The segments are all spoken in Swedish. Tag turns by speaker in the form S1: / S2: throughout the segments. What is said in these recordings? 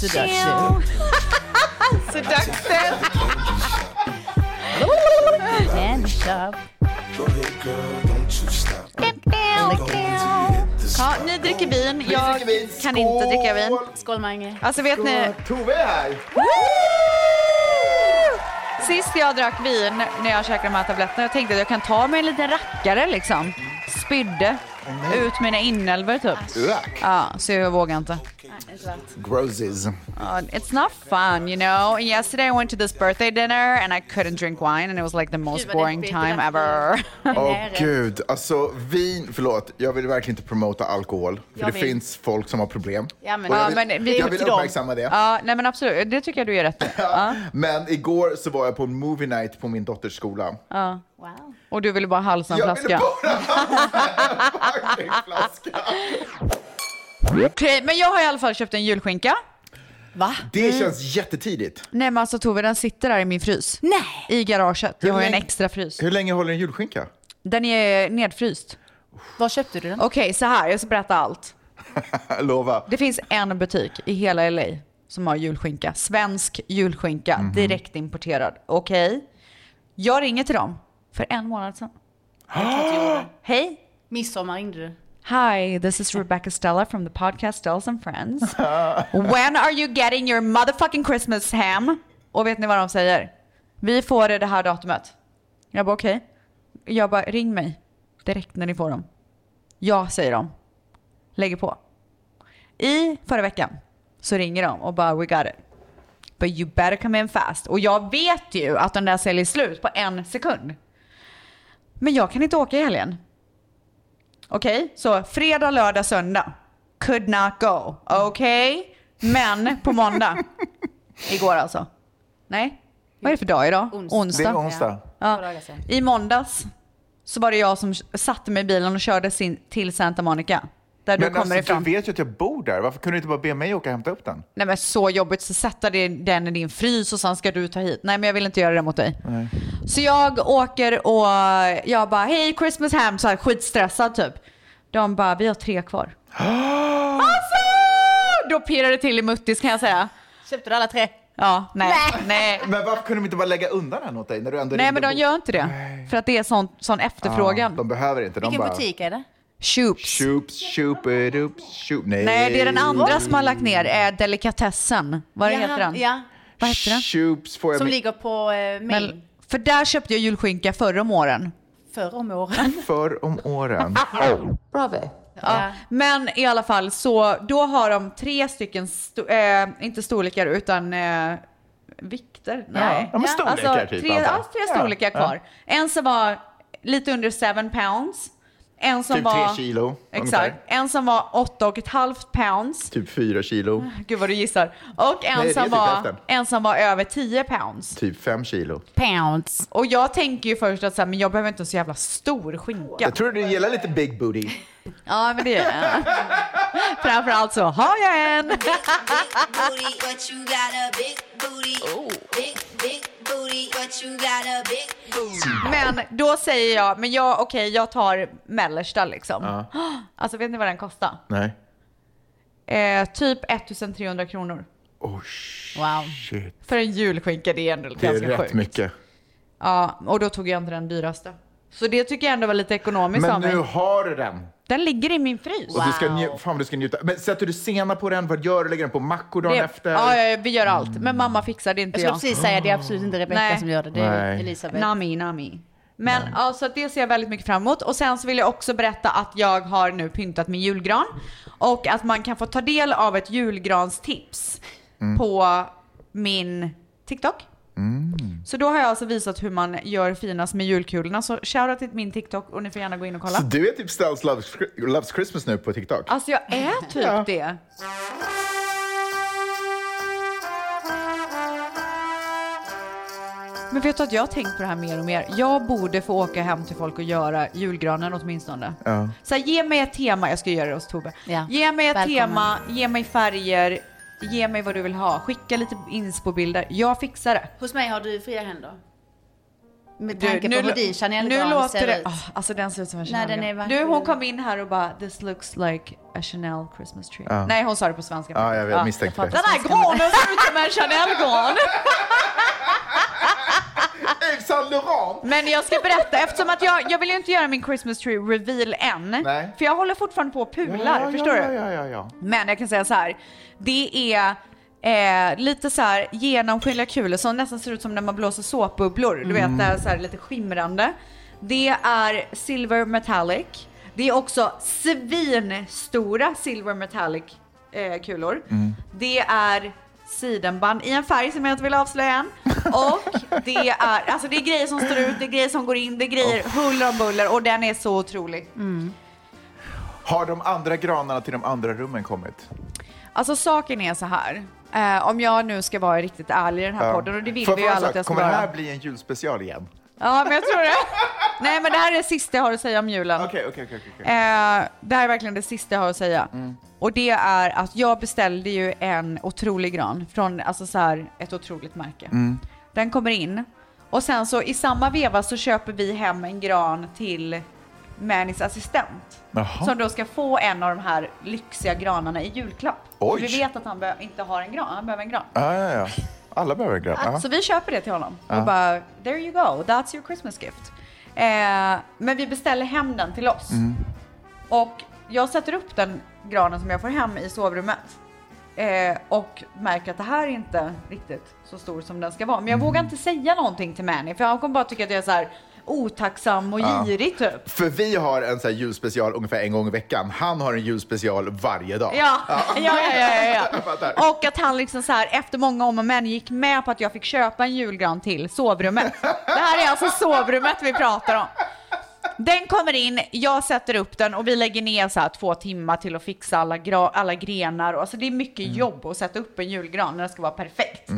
S1: Seduction. Seduction. Hand job. Ja, ni dricker vin. Jag kan inte dricka vin. Skål, Mange. Alltså, vet ni?
S2: Eh, Tove är här.
S1: Sist jag drack vin, när jag käkade de här tabletterna, jag tänkte att jag kan ta mig en liten rackare liksom. Spydde ut mina inälvor typ.
S2: Rack.
S1: Ja, så jag vågar inte.
S2: Grosses.
S1: Uh, it's not fun, you know. Yesterday I went to this birthday dinner and I couldn't drink wine and it was like the most
S3: Gud, vad
S1: boring
S3: deppigt,
S1: time
S3: det där
S1: ever.
S2: Åh gud, alltså vin, förlåt, jag vill verkligen inte promota alkohol. För
S3: Jag
S2: det
S3: vill.
S2: finns folk som har problem.
S3: Ja, men-
S2: Och jag
S1: Ja,
S2: vill,
S1: men vi-
S2: jag
S1: till
S2: vill
S3: dem.
S2: uppmärksamma det.
S1: Ja, nej men absolut, det tycker jag du gör rätt i. Ja.
S2: Men igår så var jag på en movie night på min dotters skola.
S3: Wow.
S1: Och du ville bara halsa en
S2: jag ville
S1: flaska.
S2: bara ha en flaska.
S1: Okej, men jag har i alla fall köpt en julskinka.
S3: Va?
S2: Det
S1: Mm.
S2: känns jättetidigt.
S1: Nej men alltså Tove, den sitter där i min frys.
S3: Nej.
S1: I garaget. Jag har ju en
S2: länge-
S1: extra frys.
S2: Hur länge håller en julskinka?
S1: Den är nedfryst.
S3: Var köpte du den?
S1: Okej, så här, jag ska berätta allt.
S2: Lova.
S1: Det finns en butik i hela LA som har julskinka. Svensk julskinka, direktimporterad. Okej. Jag ringer till dem för en månad sedan. Hej!
S3: Midsommar ringde du.
S1: Hi, this is Rebecca Stella from the podcast Stellas and Friends. When are you getting your motherfucking Christmas ham? Och vet ni vad de säger? Vi får det det här datumet. Jag bara okej. Jag bara ring mig direkt när ni får dem. Ja, säger de. Lägger på. I förra veckan så ringer de och bara we got it. But you better come in fast. Och jag vet ju att den där säljer slut på en sekund. Men jag kan inte åka i helgen. Okej, så fredag, lördag, söndag. Could not go. Okej? Men på måndag. Igår alltså. Nej? Vad är det för dag idag?
S3: Onsdag.
S2: Det är onsdag.
S1: Ja.
S3: Några dagar sedan.
S1: I måndags så var det jag som satte mig i bilen och körde sin, till Santa Monica. Där du
S2: Men
S1: kommer
S2: alltså,
S1: ifrån.
S2: du vet ju att jag bor där. Varför kunde du inte bara be mig åka och hämta upp den?
S1: Nej men så jobbigt, så sätta det- den i din frys och sen ska du ta hit. Nej men jag vill inte göra det mot dig. Så jag åker och jag bara, hej Christmas ham, så här skitstressad typ. De bara, vi har tre kvar. alltså! Då pirrar det till i muttis kan jag säga.
S3: Köpte du alla tre?
S1: Ja, nej, nej.
S2: Men varför kunde de inte bara lägga undan den åt dig? När du ändå
S1: Nej
S2: ringde
S1: men de
S2: och-
S1: gör inte det. För att det är sån, sån efterfrågan.
S2: De behöver inte. De
S3: Vilken
S2: bara...
S3: butik är det?
S1: Shoops.
S2: Shoops, shoop, shoop, shoop. Nej.
S1: Nej det är den andra som har lagt ner, eh, delikatessen. Vad
S3: Jaha,
S1: heter den?
S3: Ja.
S1: Vad heter den?
S2: Shoops får jag
S3: Som
S2: med-
S3: ligger på eh, Main.
S1: Men, för där köpte jag julskinka förra om åren.
S3: Förr om åren.
S2: för om åren.
S1: Ja. Men i alla fall så då har de tre stycken, sto- eh, inte storlekar utan eh, vikter. Nej. Alltså,
S2: ja, men storlekar typ,
S1: tre,
S2: antar jag.
S1: ja, tre
S2: Ja,
S1: storlekar
S2: ja.
S1: kvar. En som var lite under 7 pounds. En som
S2: Typ
S1: var,
S2: tre kilo,
S1: Exakt.
S2: ungefär.
S1: En som var åtta och ett halvt pounds.
S2: Typ fyra kilo,
S1: Gud vad du gissar. Och en,
S2: Nej, det är
S1: som
S2: typ
S1: var,
S2: hälften.
S1: en som var över 10 pounds.
S2: typ fem kilo.
S3: Pounds.
S1: Och jag tänker ju först att så här, men jag behöver inte en så jävla stor skinka.
S2: Jag tror du gillar lite big booty.
S1: Ja, men det är jag. Framförallt så har jag en.
S4: booty, but you got a big booty. Big, big booty, but you got a big booty.
S1: Men då säger jag, men jag, okej, jag tar mellersta liksom. Alltså vet ni vad den kostar?
S2: Nej.
S1: Eh, typ 1300 kronor.
S2: Oh
S3: Wow.
S2: shit.
S1: För en julskinka, det är ändå
S2: Det är
S1: ganska
S2: rätt
S1: sjukt.
S2: mycket.
S1: Ja, och då tog jag inte den dyraste. Så det tycker jag ändå var lite ekonomiskt
S2: Men
S1: av
S2: nu
S1: mig.
S2: har du den.
S1: Den ligger i min frys.
S2: Och du ska
S3: Wow.
S2: nju- fan vad du ska njuta. Men sätter du sena på den? Vad gör du? Lägger den på mackor dagen
S1: Det-
S2: efter?
S1: Ja, ja, vi gör allt. Men mamma fixar det inte
S3: Jag skulle
S1: jag.
S3: precis säga det är absolut inte Rebecca
S1: Nej.
S3: som gör det. Det är
S2: Nej.
S3: Elisabeth.
S1: Nami, nami. Men ja, så att det ser jag väldigt mycket fram emot. Och sen så vill jag också berätta att jag har nu pyntat min julgran. Och att man kan få ta del av ett julgranstips på min TikTok. Så då har jag alltså visat hur man gör finast med julkulorna. Så shoutout till min TikTok och ni får gärna gå in och kolla.
S2: Så du är typ Stells loves, Chri- loves Christmas nu på TikTok?
S1: Alltså jag är typ det. Men vet du att jag har tänkt på det här mer och mer. Jag borde få åka hem till folk och göra julgranen åtminstone.
S2: Ja.
S1: Så här, ge mig ett tema, jag ska göra det hos Tobbe.
S3: Ja.
S1: Ge mig ett
S3: Välkommen.
S1: tema, ge mig färger, ge mig vad du vill ha. Skicka lite inspo-bilder. Jag fixar det.
S3: Hos mig har du fria händer. Med
S1: Du,
S3: tanke
S1: nu
S3: på hur
S1: lå-
S3: din
S1: Nu
S3: Chanel-gran
S1: låter
S3: ser
S1: det...
S3: ut.
S1: Ah, alltså den ser ut som en
S3: Nej,
S1: Chanel.
S3: den är verkligen-
S1: du, hon kom in här och bara “This looks like a Chanel Christmas tree”.
S2: Ja.
S1: Nej, hon sa det på svenska.
S2: Ja, jag vet, misstänkte
S3: jag
S2: det.
S1: Den här granen ser ut som en Chanel-gran.
S2: Yves Saint Laurent!
S1: Men jag ska berätta, eftersom att jag, jag vill ju inte göra min Christmas tree reveal än.
S2: Nej.
S1: För jag håller fortfarande på och pular,
S2: ja,
S1: förstår
S2: ja,
S1: du?
S2: Ja, ja, ja.
S1: Men jag kan säga så här, det är eh, lite så här genomskinliga kulor som nästan ser ut som när man blåser såpbubblor. Du vet, det är så här lite skimrande. Det är silver metallic. Det är också svinstora silver metallic eh, kulor. Det är sidenband i en färg som jag inte vill avslöja än. Och det är, alltså det är grejer som står ut, det är grejer som går in, det är grejer huller om buller och den är så otrolig.
S2: Har de andra granarna till de andra rummen kommit?
S1: Alltså saken är så här. Eh, om jag nu ska vara riktigt ärlig i den här
S2: Ja.
S1: podden och det vill
S2: Får
S1: vi ju
S2: fråga en
S1: alla
S2: sak?
S1: att jag ska
S2: Kommer det
S1: vara.
S2: här bli en julspecial igen?
S1: Ja, men jag tror det. Nej, men det här är det sista jag har att säga om julen.
S2: Okej, okej, okej. okej.
S1: Eh, det här är verkligen det sista jag har att säga.
S2: Mm.
S1: Och det är att jag beställde ju en otrolig gran från alltså så här, ett otroligt märke.
S2: Mm.
S1: Den kommer in och sen så i samma veva så köper vi hem en gran till Mannys assistent.
S2: Jaha.
S1: Som då ska få en av de här lyxiga granarna i julklapp.
S2: Oj.
S1: Vi vet att han be- inte har en gran, han behöver en gran.
S2: Ja, ja, ja. Alla behöver en gran. Ja.
S1: Så vi köper det till honom. Och bara, there you go, that's your Christmas gift. Eh, men vi beställer hem den till oss. Och jag sätter upp den granen som jag får hem i sovrummet. Eh, och märker att det här är inte riktigt så stor som den ska vara. Men jag vågar inte säga någonting till Manny för han kommer bara tycka att jag är så här otacksam och girig typ.
S2: För vi har en så här julspecial ungefär en gång i veckan. Han har en julspecial varje dag.
S1: Ja, ja, ja, ja,
S2: Jag
S1: ja.
S2: fattar.
S1: Och att han liksom så här efter många om och men gick med på att jag fick köpa en julgran till sovrummet. Det här är alltså sovrummet vi pratar om. Den kommer in, jag sätter upp den och vi lägger ner så här två timmar till att fixa alla, gra- alla grenar. Och Alltså det är mycket
S2: Mm.
S1: jobb att sätta upp en julgran när den ska vara perfekt.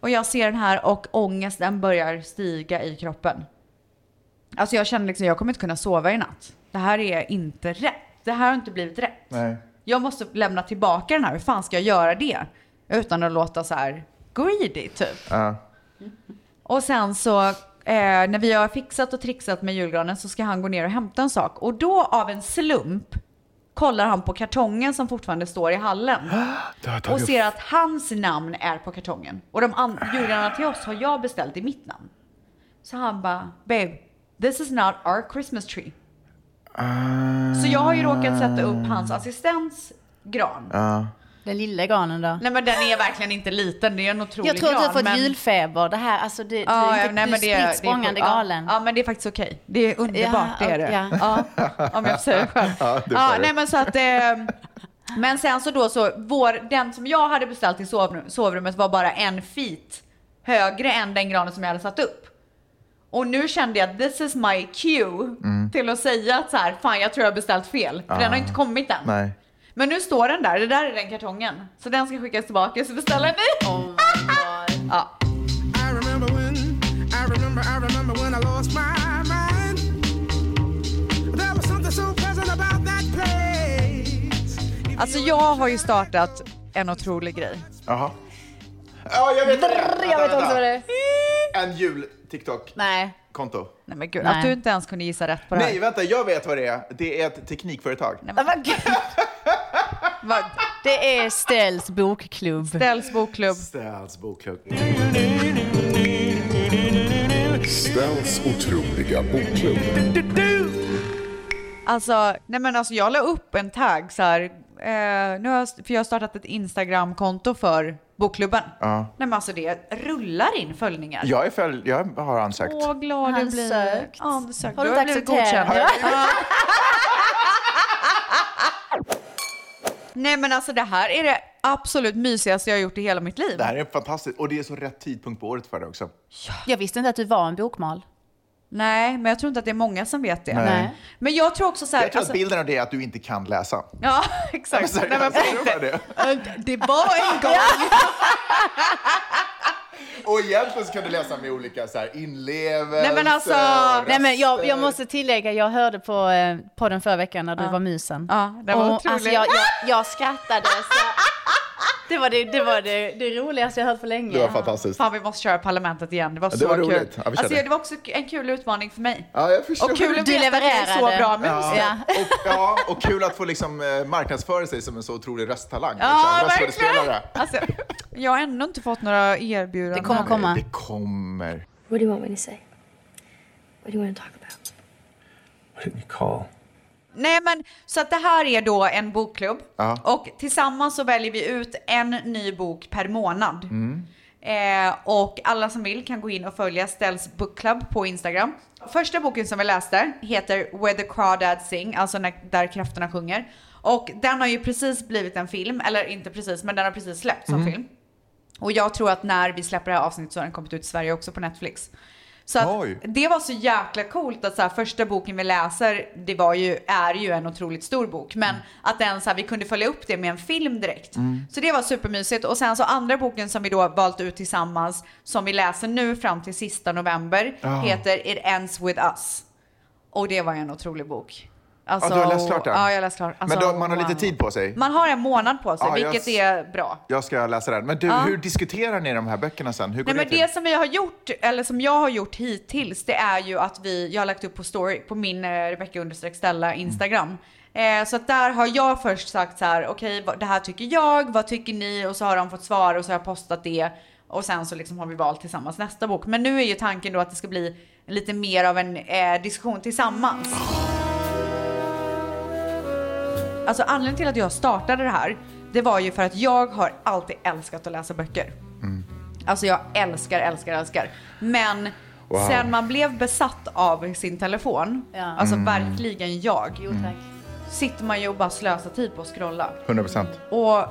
S1: Och jag ser den här och ångesten börjar stiga i kroppen. Alltså jag känner liksom, jag kommer inte kunna sova i natt. Det här är inte rätt. Det här har inte blivit rätt.
S2: Nej.
S1: Jag måste lämna tillbaka den här. Hur fan ska jag göra det? Utan att låta så här greedy typ.
S2: Ja.
S1: Och sen så eh, när vi har fixat och trixat med julgranen så ska han gå ner och hämta en sak. Och då av en slump kollar han på kartongen som fortfarande står i hallen.
S2: Du har tagit
S1: Och
S2: upp-
S1: ser att hans namn är på kartongen. Och de an- julgranarna till oss har jag beställt i mitt namn. Så han bara, babe, this is not our Christmas tree. Så jag har ju råkat sätta upp hans assistents gran.
S3: Den lilla granen då?
S1: Nej men den är verkligen inte liten, det är en otrolig
S3: Jag tror att du har
S1: gran,
S3: fått
S1: men-
S3: julfeber. Det här, alltså du,
S1: Ja,
S3: du,
S1: ja,
S3: är inte-
S1: nej,
S3: du
S1: men
S3: är
S1: det- det är
S3: spritt språngande
S1: sjukt. Ja,
S3: galen.
S1: Ja, men det är faktiskt okej. Det är underbart,
S3: Ja,
S1: det är det. Ja.
S3: ja.
S1: om jag får säga det själv.
S2: Ja,
S1: Ja,
S2: det får du.
S1: nej men så att... Eh, men sen så då så, vår, den som jag hade beställt i sovrum, sovrummet var bara en feet högre än den granen som jag hade satt upp. Och nu kände jag this is my cue
S2: Mm.
S1: till att säga att så här, fan jag tror jag har beställt fel. För den har inte kommit än.
S2: Ah. Nej.
S1: Men nu står den där, det där är den kartongen. Så den ska skickas tillbaka, så beställer en ny.
S3: Oh
S1: ja.
S5: I remember when, I remember, I remember when I lost my mind. There was something so pleasant about that place. If
S1: Alltså
S5: you-
S1: jag har ju startat en otrolig grej.
S2: Jaha. Ja, jag vet vad det är.
S3: Jag vet
S2: Vänta,
S3: också vad det
S2: vänta.
S3: är.
S2: En jul-TikTok-konto.
S3: Nej.
S1: Nej men gud,
S3: Nej.
S1: att du inte ens kunde gissa rätt på det här.
S2: Nej, vänta, jag vet vad det är. Det är ett teknikföretag.
S3: Ja, vad gud.
S1: Vad-
S3: Det är Stells bokklubb.
S1: Dells bokklubb.
S2: Ställs bokklubb.
S6: Ställs otroliga bokklubb.
S1: Alltså, nej men alltså jag la upp en tagg så här. Eh, nu har jag, för jag har startat ett Instagram-konto för bokklubben. Nej men alltså det rullar in följningar.
S2: Jag, är följ... jag har ansökt.
S1: Åh, glad jag blir.
S3: Ansökt.
S1: Ansökt.
S3: Har du
S1: har
S3: inte
S1: blivit
S3: accepterat?
S1: godkänd. Ja. Nej men alltså det här är det absolut mysigaste jag har gjort i hela mitt liv.
S2: Det här är fantastiskt. Och det är så rätt tidpunkt på året för det också.
S3: Jag visste inte att du var en bokmal.
S1: Nej, men jag tror inte att det är många som vet det.
S3: Nej.
S1: Men jag tror också så här...
S2: Jag tror
S1: alltså-
S2: att bilden av det är att du inte kan läsa.
S1: Ja, exakt. Nej, men på
S2: Seriöst,
S1: riktigt. Det
S2: det.
S1: var en gång.
S2: Och egentligen så kan du läsa med olika så här inlevelser.
S1: Nej, men alltså-
S2: röster.
S3: Nej, men jag, jag måste tillägga, jag hörde på eh, podden förra veckan när du var musen.
S1: Eh, Ja, det var
S3: Och,
S1: otroligt.
S3: Alltså, jag, jag, jag skrattade så. Det var det, det, var det, det roligaste jag hört på länge.
S2: Det var fantastiskt.
S1: Fan, vi måste köra Parlamentet igen. Det var
S2: det
S1: så
S2: var
S1: kul.
S2: roligt. Ja, vi kör
S1: alltså,
S2: det.
S1: det var också en kul utmaning för mig.
S2: Ja, jag förstår.
S1: Och kul att
S3: Du
S1: veta att det är så
S3: levererade.
S1: bra mus.
S2: Ja.
S3: Ja.
S2: Och, ja, och kul att få liksom eh, marknadsföra sig som en så otrolig rösttalang.
S1: Ja,
S2: liksom,
S1: verkligen!
S2: röstskådespelare.
S1: Alltså, jag har ännu inte fått några erbjudanden.
S3: Det kommer komma.
S2: Det kommer.
S7: What do you want me to say? What do you want to talk about?
S8: What did you call?
S1: Nej, men så att det här är då en bokklubb.
S2: Ja.
S1: Och tillsammans så väljer vi ut en ny bok per månad. Eh, och alla som vill kan gå in och följa Stells Book Club på Instagram. Första boken som vi läste heter Where the Crawdads Sing, alltså när, där krafterna sjunger. Och den har ju precis blivit en film, eller inte precis, men den har precis släppts som film. Och jag tror att när vi släpper det här avsnittet så har den kommit ut i Sverige också på Netflix. Så att
S2: Oj.
S1: det var så jäkla coolt att så här, första boken vi läser, det var ju, är ju en otroligt stor bok. Men
S2: Mm.
S1: att den, så här, vi kunde följa upp det med en film direkt. Så det var supermysigt. Och sen så andra boken som vi då valt ut tillsammans, som vi läser nu fram till sista november, heter It Ends With Us. Och det var en otrolig bok. Alltså,
S2: Ja, du har läst klart den?
S1: Ja, jag har läst klart. Alltså,
S2: Men då- man har lite tid på sig?
S1: Man har en månad på sig,
S2: Ja, jag
S1: vilket
S2: s-
S1: är bra.
S2: Jag ska läsa den. Men du, hur diskuterar ni de här böckerna sen? Hur
S1: Nej,
S2: går
S1: men
S2: det
S1: det som vi har gjort, eller som jag har gjort hittills, det är ju att vi, jag har lagt upp på story, på min eh, Rebecca understreck Stella Instagram. Eh, så att där har jag först sagt så här, okej vad- det här tycker jag, vad tycker ni? Och så har de fått svar och så har jag postat det. Och sen så liksom har vi valt tillsammans nästa bok. Men nu är ju tanken då att det ska bli lite mer av en eh, diskussion tillsammans. Alltså anledningen till att jag startade det här, det var ju för att jag har alltid älskat att läsa böcker. Alltså jag älskar, älskar, älskar. Men sen man blev besatt av sin telefon,
S3: Ja.
S1: alltså verkligen jag,
S3: Jo tack.
S1: sitter man ju och bara slösar tid på att scrolla.
S2: till? 100 procent.
S1: Och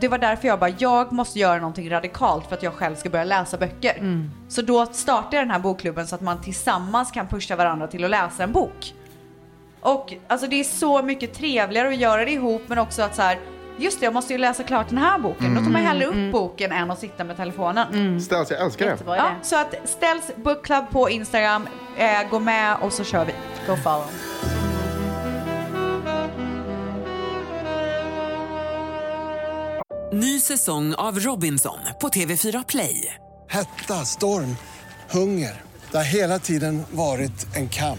S1: det var därför jag bara, jag måste göra någonting radikalt för att jag själv ska börja läsa böcker. Så då startade jag den här bokklubben så att man tillsammans kan pusha varandra till att läsa en bok. Och alltså det är så mycket trevligare att göra det ihop men också att så här, just det jag måste ju läsa klart den här boken. Då tar man hellre upp boken än att sitta med telefonen.
S2: Ställs, jag älskar det.
S3: Jättebra
S1: Ja,
S3: idé.
S1: så att ställs book club på Instagram, eh, gå med och så kör vi.
S3: Go follow.
S9: Ny säsong av Robinson på TV4 Play.
S10: Hetta, storm, hunger. Det har hela tiden varit en kamp.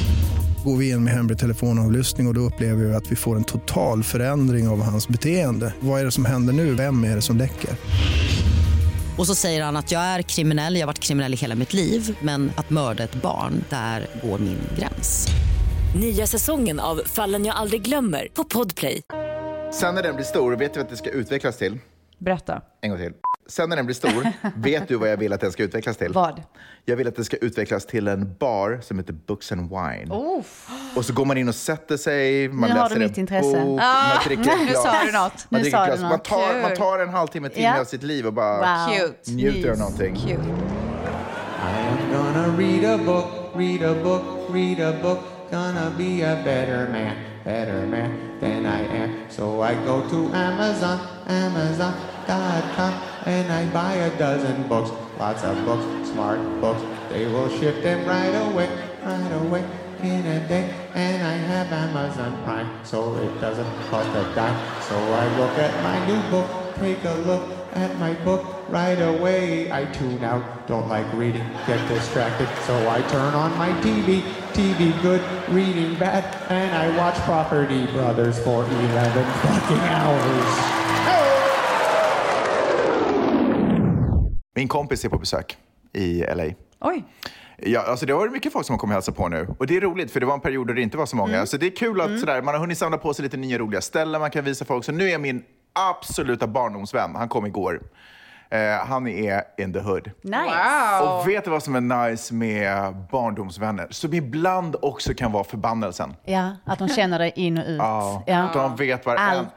S5: Går vi in med hemlig telefonavlyssning och, och då upplever vi att vi får en total förändring av hans beteende. Vad är det som händer nu? Vem är det som läcker?
S11: Och så säger han att jag är kriminell, jag har varit kriminell i hela mitt liv men att mörda ett barn, där går min gräns. Nya säsongen av Fallen jag aldrig glömmer på Podplay.
S2: Sen när den blir stor, vet du vad det ska utvecklas till?
S1: Berätta.
S2: En gång till. Sen när den blir stor, vet du vad jag vill att den ska utvecklas till?
S1: Vad?
S2: Jag vill att den ska utvecklas till en bar som heter Books and Wine.
S3: Oh,
S2: Och så går man in och sätter sig, man
S3: Nu har
S2: läser
S3: du
S2: en
S3: mitt intresse.
S2: bok, man dricker
S1: nu
S2: ett glas.
S1: sa du något.
S2: Man,
S3: Nu
S2: dricker
S3: sa
S2: ett
S3: du
S2: glas. man,
S3: något.
S2: tar,
S1: Kul.
S2: man tar en halvtimme, timme
S3: Ja.
S2: av sitt liv och bara
S3: Wow.
S1: Cute.
S2: njuter av
S3: Mys.
S2: någonting.
S1: Cute.
S5: Gonna read a book, read a book, read a book. Gonna be a better man, better man than I am. So I go to Amazon, Amazon.com, and I buy a dozen books. Lots of books, smart books. They will ship them right away, right away in a day. And I have Amazon Prime, so it doesn't cost a dime. So I look at my new book, take a look at my book right away. I tune out, don't like reading, get distracted, so I turn on my TV. TV good, reading bad, and I watch Property Brothers for 11 fucking hours.
S2: Min kompis är på besök i LA.
S1: Oj.
S2: Ja, alltså det har varit mycket folk som har kommit och hälsat på nu. Och det är roligt, för det var en period då det inte var så
S3: Mm.
S2: många. Så det är kul att sådär, man har hunnit samla på sig lite nya roliga ställen man kan visa folk. Så nu är min absoluta barndomsvän, han kom igår. Eh, han är in the hood.
S1: Nice. Wow.
S2: Och vet du vad som är nice med barndomsvänner? Som ibland också kan vara förbannelsen.
S3: Ja, att de känner dig in och ut.
S2: Ja,
S3: Ja.
S2: att han vet varenda...
S3: Allt.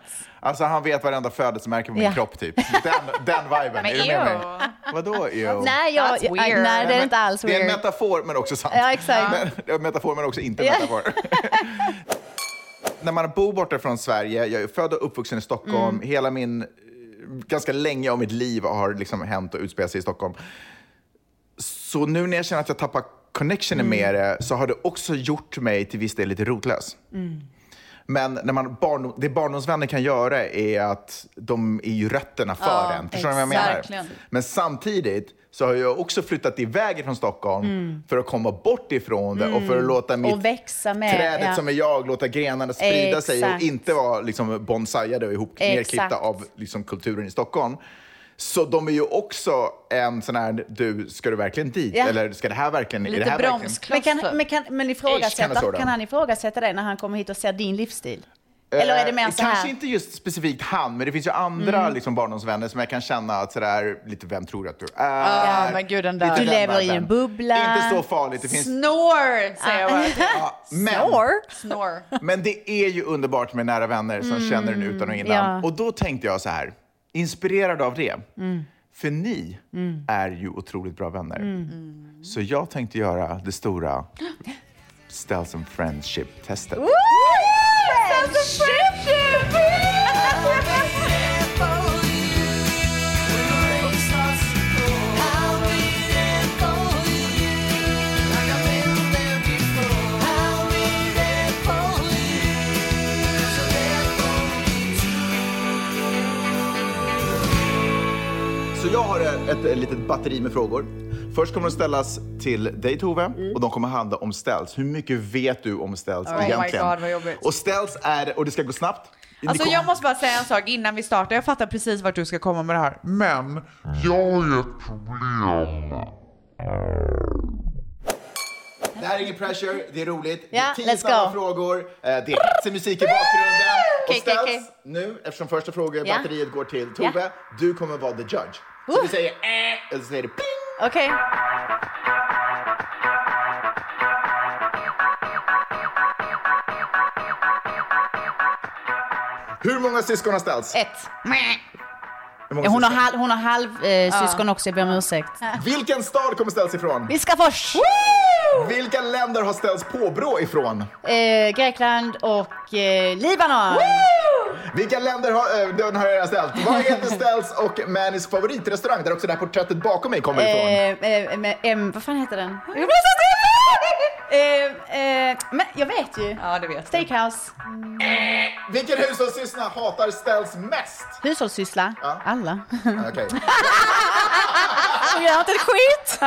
S2: Alltså han vet varenda födelsmärke på min
S3: Ja.
S2: kropp typ. Den, den viben, är du med mig? Vadå ew?
S3: Nej, jag,
S1: That's
S3: jag,
S1: weird.
S3: nej, det är inte alls
S2: Det är en
S3: weird.
S2: metafor men också sant.
S3: Ja, exakt.
S2: Men, det är en metafor men också inte en
S3: Ja.
S2: metafor. När man bor borta från Sverige, jag är född och uppvuxen i
S3: Mm.
S2: Stockholm, hela min, eh, ganska länge av mitt liv har liksom hänt och utspelat sig i Stockholm. Så nu när jag känner att jag tappar
S3: Mm.
S2: connectionen med det så har det också gjort mig till viss del lite rotlös.
S3: Mm.
S2: Men när man barn, det barndomsvänner kan göra är att de är ju rötterna för
S3: Ja,
S2: en. Förstår ni vad jag menar?
S3: verkligen.
S2: Men samtidigt så har jag också flyttat iväg från Stockholm för att komma bort ifrån det och för att låta mitt
S3: Mm. Och växa med.
S2: trädet
S3: ja.
S2: som är jag, låta grenarna sprida sig och
S3: Exakt.
S2: inte vara liksom bonsaiade och ihop
S3: Exakt.
S2: nerklippta av liksom kulturen i Stockholm. Så de är ju också en sån här, du, ska du verkligen dit?
S3: Ja.
S2: Eller ska det här verkligen, är det här verkligen?
S3: Men, kan, men, kan, men
S2: Ish, kan det stå
S3: ifrågasätta,
S2: då.
S3: kan han ifrågasätta dig när han kommer hit och ser din livsstil? Eller är det mer
S2: Eh,
S3: så
S2: Kanske
S3: här? Mm.
S2: inte just specifikt han, men det finns ju andra liksom, barndomsvänner som jag kan känna att sådär, lite vem tror du att du är?
S1: Ja, men gud, den där.
S2: Lite
S1: Du
S2: den
S3: lever i
S2: världen.
S3: en bubbla.
S2: Inte så farligt. Det finns,
S1: Snore, säger jag bara.
S2: ja, men,
S3: Snor?
S1: Snore.
S2: men det är ju underbart med nära vänner som
S1: Mm.
S2: känner en utan och innan.
S3: ja.
S2: Och då tänkte jag så här, inspirerad av det,
S1: Mm.
S2: för ni är ju otroligt bra vänner.
S1: Mm.
S2: Mm. Så jag tänkte göra det stora Ställs and Friendship-testet. Så jag har ett, ett litet batteri med frågor. Först kommer de ställas till dig Tove och de kommer handla om ställs. Hur mycket vet du om ställs
S1: Mm. Oh my
S2: egentligen?
S1: God, vad jobbigt.
S2: Och ställs är, och det ska gå snabbt. Ni
S1: Alltså
S2: kom-
S1: jag måste bara säga en sak innan vi startar. Jag fattar precis vart du ska komma med det här. Men
S6: Jag har ett problem.
S2: Det här är ingen pressure, det är roligt.
S3: Ja,
S2: det är
S3: let's
S2: tio snabba
S3: go.
S2: frågor, eh, det är hetsig musik i bakgrunden. Och
S3: Okej, okej,
S2: ställs
S3: okej.
S2: nu, eftersom första frågan
S3: Ja.
S2: batteriet går till Tove,
S3: Ja.
S2: du kommer vara the judge. Så
S3: Oh.
S2: vi säger äh, eller så säger det ping.
S3: Okej.
S2: Hur många syskon har ställs?
S3: Ett.
S2: Hur många
S3: Hon har,
S2: syskon?
S3: halv, hon har halv eh, syskon också, jag ber om ursäkt.
S2: Vilken stad kommer ställs ifrån?
S3: Viskafors!
S2: Vilka länder har ställs påbrå ifrån?
S3: Eh, Grekland och eh, Libanon.
S2: Vilka länder har, eh, den har jag redan ställt. Vad heter Ställs och Manis favoritrestaurang där också det här porträttet bakom mig kommer
S3: Eh,
S2: ifrån?
S3: eh, men, em, vad fan heter den? Jag blir så snäll! eh, eh, men jag vet ju.
S1: ja, det vet jag.
S3: Steakhouse,
S2: Vilken hushållssyssla hatar Ställs mest?
S3: hushållssyssla,
S2: Ja.
S3: alla.
S2: Ah, Okej.
S3: Jag gör inte ett skit!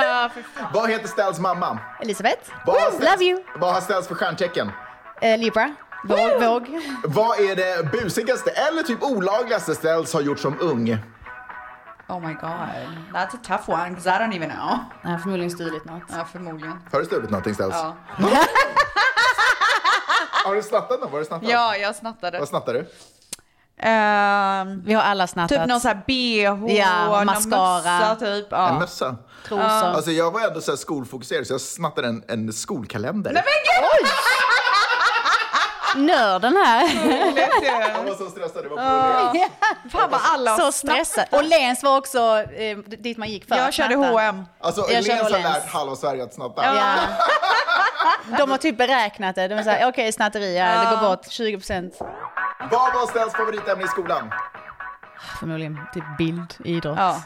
S2: Vad heter Ställs mamma?
S3: Elisabeth,
S2: Vad har
S3: Woo!
S2: Ställs-
S3: love you.
S2: Vad har Ställs för stjärntecken?
S3: Eh, Libra, våg, våg.
S2: Vad är det busigaste eller typ olagligaste Ställs har gjort som ung?
S1: Oh my god. That's a tough one, 'cause I don't even know.
S3: Nej, förmodligen stulit något.
S1: Ja, förmodligen.
S2: Har du stulit någonting Ställs?
S1: Ja.
S2: Har du snattat något? Var du snattat?
S1: Ja, jag snattade.
S2: Vad snattade du?
S1: Ehm,
S3: Vi har alla snattat.
S1: typ någon sån här bh,
S3: Ja,
S1: någon
S3: mascara.
S1: mössa typ.
S2: En
S1: Ja.
S2: mössa?
S3: trosor.
S2: Alltså jag var ändå så här skolfokuserad så jag snattade en, en skolkalender.
S1: Nej men gud!
S3: Nörden här.
S2: jag var så stressad, det var påläst.
S1: Fan vad alla har
S3: Så
S1: snattat.
S3: stressad. Och Lens var också eh, dit man gick för
S1: Jag
S3: att
S1: körde
S3: snatta.
S1: H&M.
S2: Alltså,
S3: Jag
S2: Elens
S3: känner
S2: har
S3: Åhléns.
S2: lärt halva Sverige att snatta.
S3: Ja. De har typ beräknat det. De är såhär, okej snatteri, ja, det går bort 20 procent.
S2: Vad var Stens favoritämne i skolan?
S3: Förmodligen typ bild, idrott.
S1: Ja.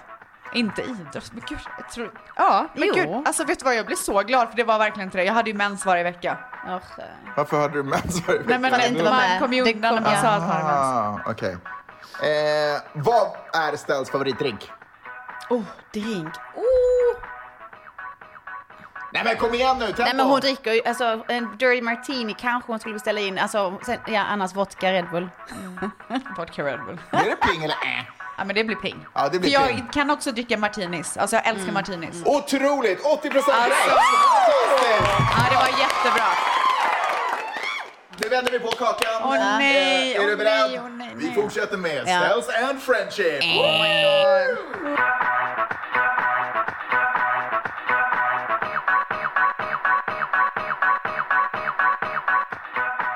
S1: Inte idrott, men gud. Jag tror... Ja, men
S3: Jo.
S1: gud. Alltså vet du vad, jag blev så glad för det var verkligen inte det. Jag hade ju mens varje vecka.
S3: Och, eh,
S2: Varför hade du mens varje
S1: Nej men
S3: För att inte vara
S1: man
S3: med.
S1: kom ju
S3: Det
S1: undan när
S3: kom-
S1: man sa att man hade mens.
S2: Ah, okej. Eh, vad är Stens favoritdrink?
S3: oh, drink.
S2: Nej men kom igen nu, tempo!
S3: Oh. Nej men hon dricker ju, alltså en dirty martini kanske hon skulle beställa in. Alltså, sen, ja annars vodka, Red Bull.
S1: Vodka Red Bull.
S2: Är det pling eller äh?
S1: Ja men det blir ping.
S2: Ja, det blir Mm.
S1: För
S2: ping.
S1: jag kan också dricka martinis. Alltså jag älskar martinis.
S2: Otroligt! 80 procent
S1: Alltså.
S2: rätt! Fantastiskt!
S1: Ja det var jättebra.
S2: Nu vänder vi på kakan.
S1: Åh, nej,
S2: Eh, är
S1: åh,
S2: du beredd?
S1: nej, Eh. åh, nej,
S2: vi
S1: nej.
S2: fortsätter med
S3: Ja.
S2: Oh Stens and Friendship.
S1: Oh my god.